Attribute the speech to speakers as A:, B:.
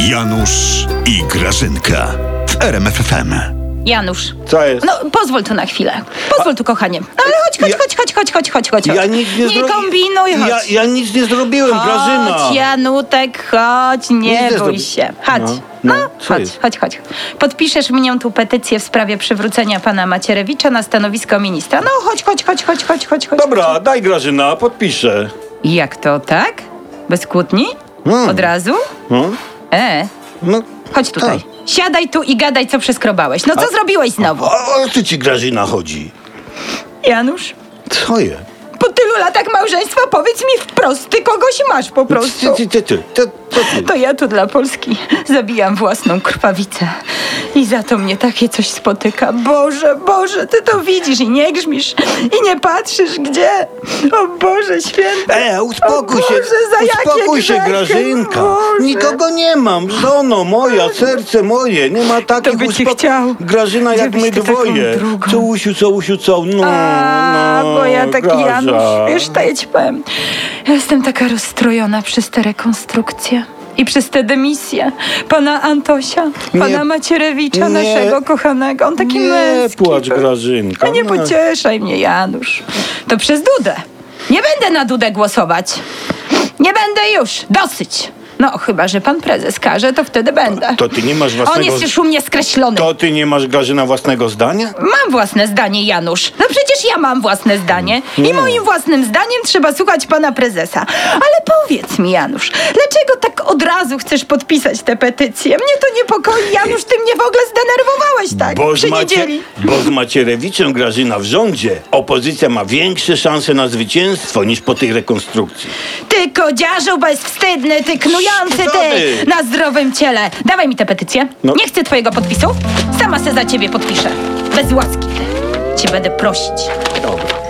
A: Janusz i Grażynka w RMFFM.
B: Janusz.
C: Co jest?
B: No, pozwól tu na chwilę. Pozwól tu, kochanie. No, ale chodź, chodź,
C: Ja-
B: chodź, chodź, chodź, chodź, chodź, chodź.
C: ja nic nie
B: No, Nie
C: zrobiłem.
B: kombinuj, chodź.
C: Ja, ja nic nie zrobiłem, Grażyna.
B: Chodź, Janutek, chodź, nie
C: Nic nie
B: bój
C: zrobi-
B: się. Chodź.
C: No,
B: No,
C: no, co
B: chodź,
C: jest?
B: chodź, chodź. Podpiszesz mnie tu petycję w sprawie przywrócenia pana Macierewicza na stanowisko ministra. No, chodź, chodź, chodź, chodź, chodź, chodź. chodź.
C: Dobra, daj Grażyna, podpiszę.
B: Jak to, tak? Bez kłótni?
C: Mm.
B: Od razu?
C: No,
B: E,
C: no.
B: chodź tutaj. Siadaj tu i gadaj, co przeskrobałeś. No, co zrobiłeś znowu?
C: O, o ty ci Grażyna chodzi.
B: Janusz?
C: Co je?
B: Po tylu latach małżeństwa powiedz mi wprost, ty kogoś masz po prostu.
C: Ty, ty, ty, ty, ty, ty, ty.
B: To ja tu dla Polski zabijam własną krwawicę. I za to mnie takie coś spotyka. Boże, Boże, ty to widzisz i nie grzmisz. I nie patrzysz gdzie. O Boże święty.
C: E, uspokój
B: O
C: się,
B: Boże, za jakie
C: uspokój się
B: grzechy,
C: Grażynka.
B: Boże.
C: Nikogo nie mam, żono moja, serce moje, nie ma takich
B: by ci
C: uspo-
B: chciał.
C: Grażyna jak
B: Gdybyś
C: my
B: ty taką
C: dwoje.
B: drugą.
C: Cołusiu, cołusiu, co, no,
B: A,
C: no,
B: bo ja taki
C: Graża.
B: Janusz, wiesz, to ja ci powiem. Ja jestem taka rozstrojona przez te rekonstrukcje. I przez te dymisje pana Antosia,
C: Nie.
B: pana Macierewicza,
C: Nie.
B: naszego kochanego. On taki
C: Nie
B: męski.
C: płacz
B: był.
C: Grażynka.
B: A nie
C: no.
B: pocieszaj mnie, Janusz. To przez Dudę. Nie będę na Dudę głosować. Nie będę już. Dosyć. No, chyba, że pan prezes każe, to wtedy będę.
C: To ty nie masz
B: On
C: własnego...
B: jest już u mnie skreślony.
C: To ty nie masz Grażyna własnego zdania?
B: Mam własne zdanie, Janusz. No przecież ja mam własne zdanie. I
C: Nie.
B: moim własnym zdaniem trzeba słuchać pana prezesa. Ale powiedz mi, Janusz, dlaczego tak od razu chcesz podpisać tę petycję? Mnie to niepokoi, Janusz, ty mnie w ogóle zdenerwowałeś tak przy niedzieli.
C: bo z Macierewiczem Grażyna w rządzie opozycja ma większe szanse na zwycięstwo niż po tej rekonstrukcji.
B: Ty kodziarzu bezwstydny, ty knujący, ty
C: Szkodzony.
B: na zdrowym ciele. Dawaj mi tę petycję.
C: No.
B: Nie chcę twojego podpisu. Sama se za ciebie podpiszę. Bez łaski ty. Cię będę prosić.
C: Dobra.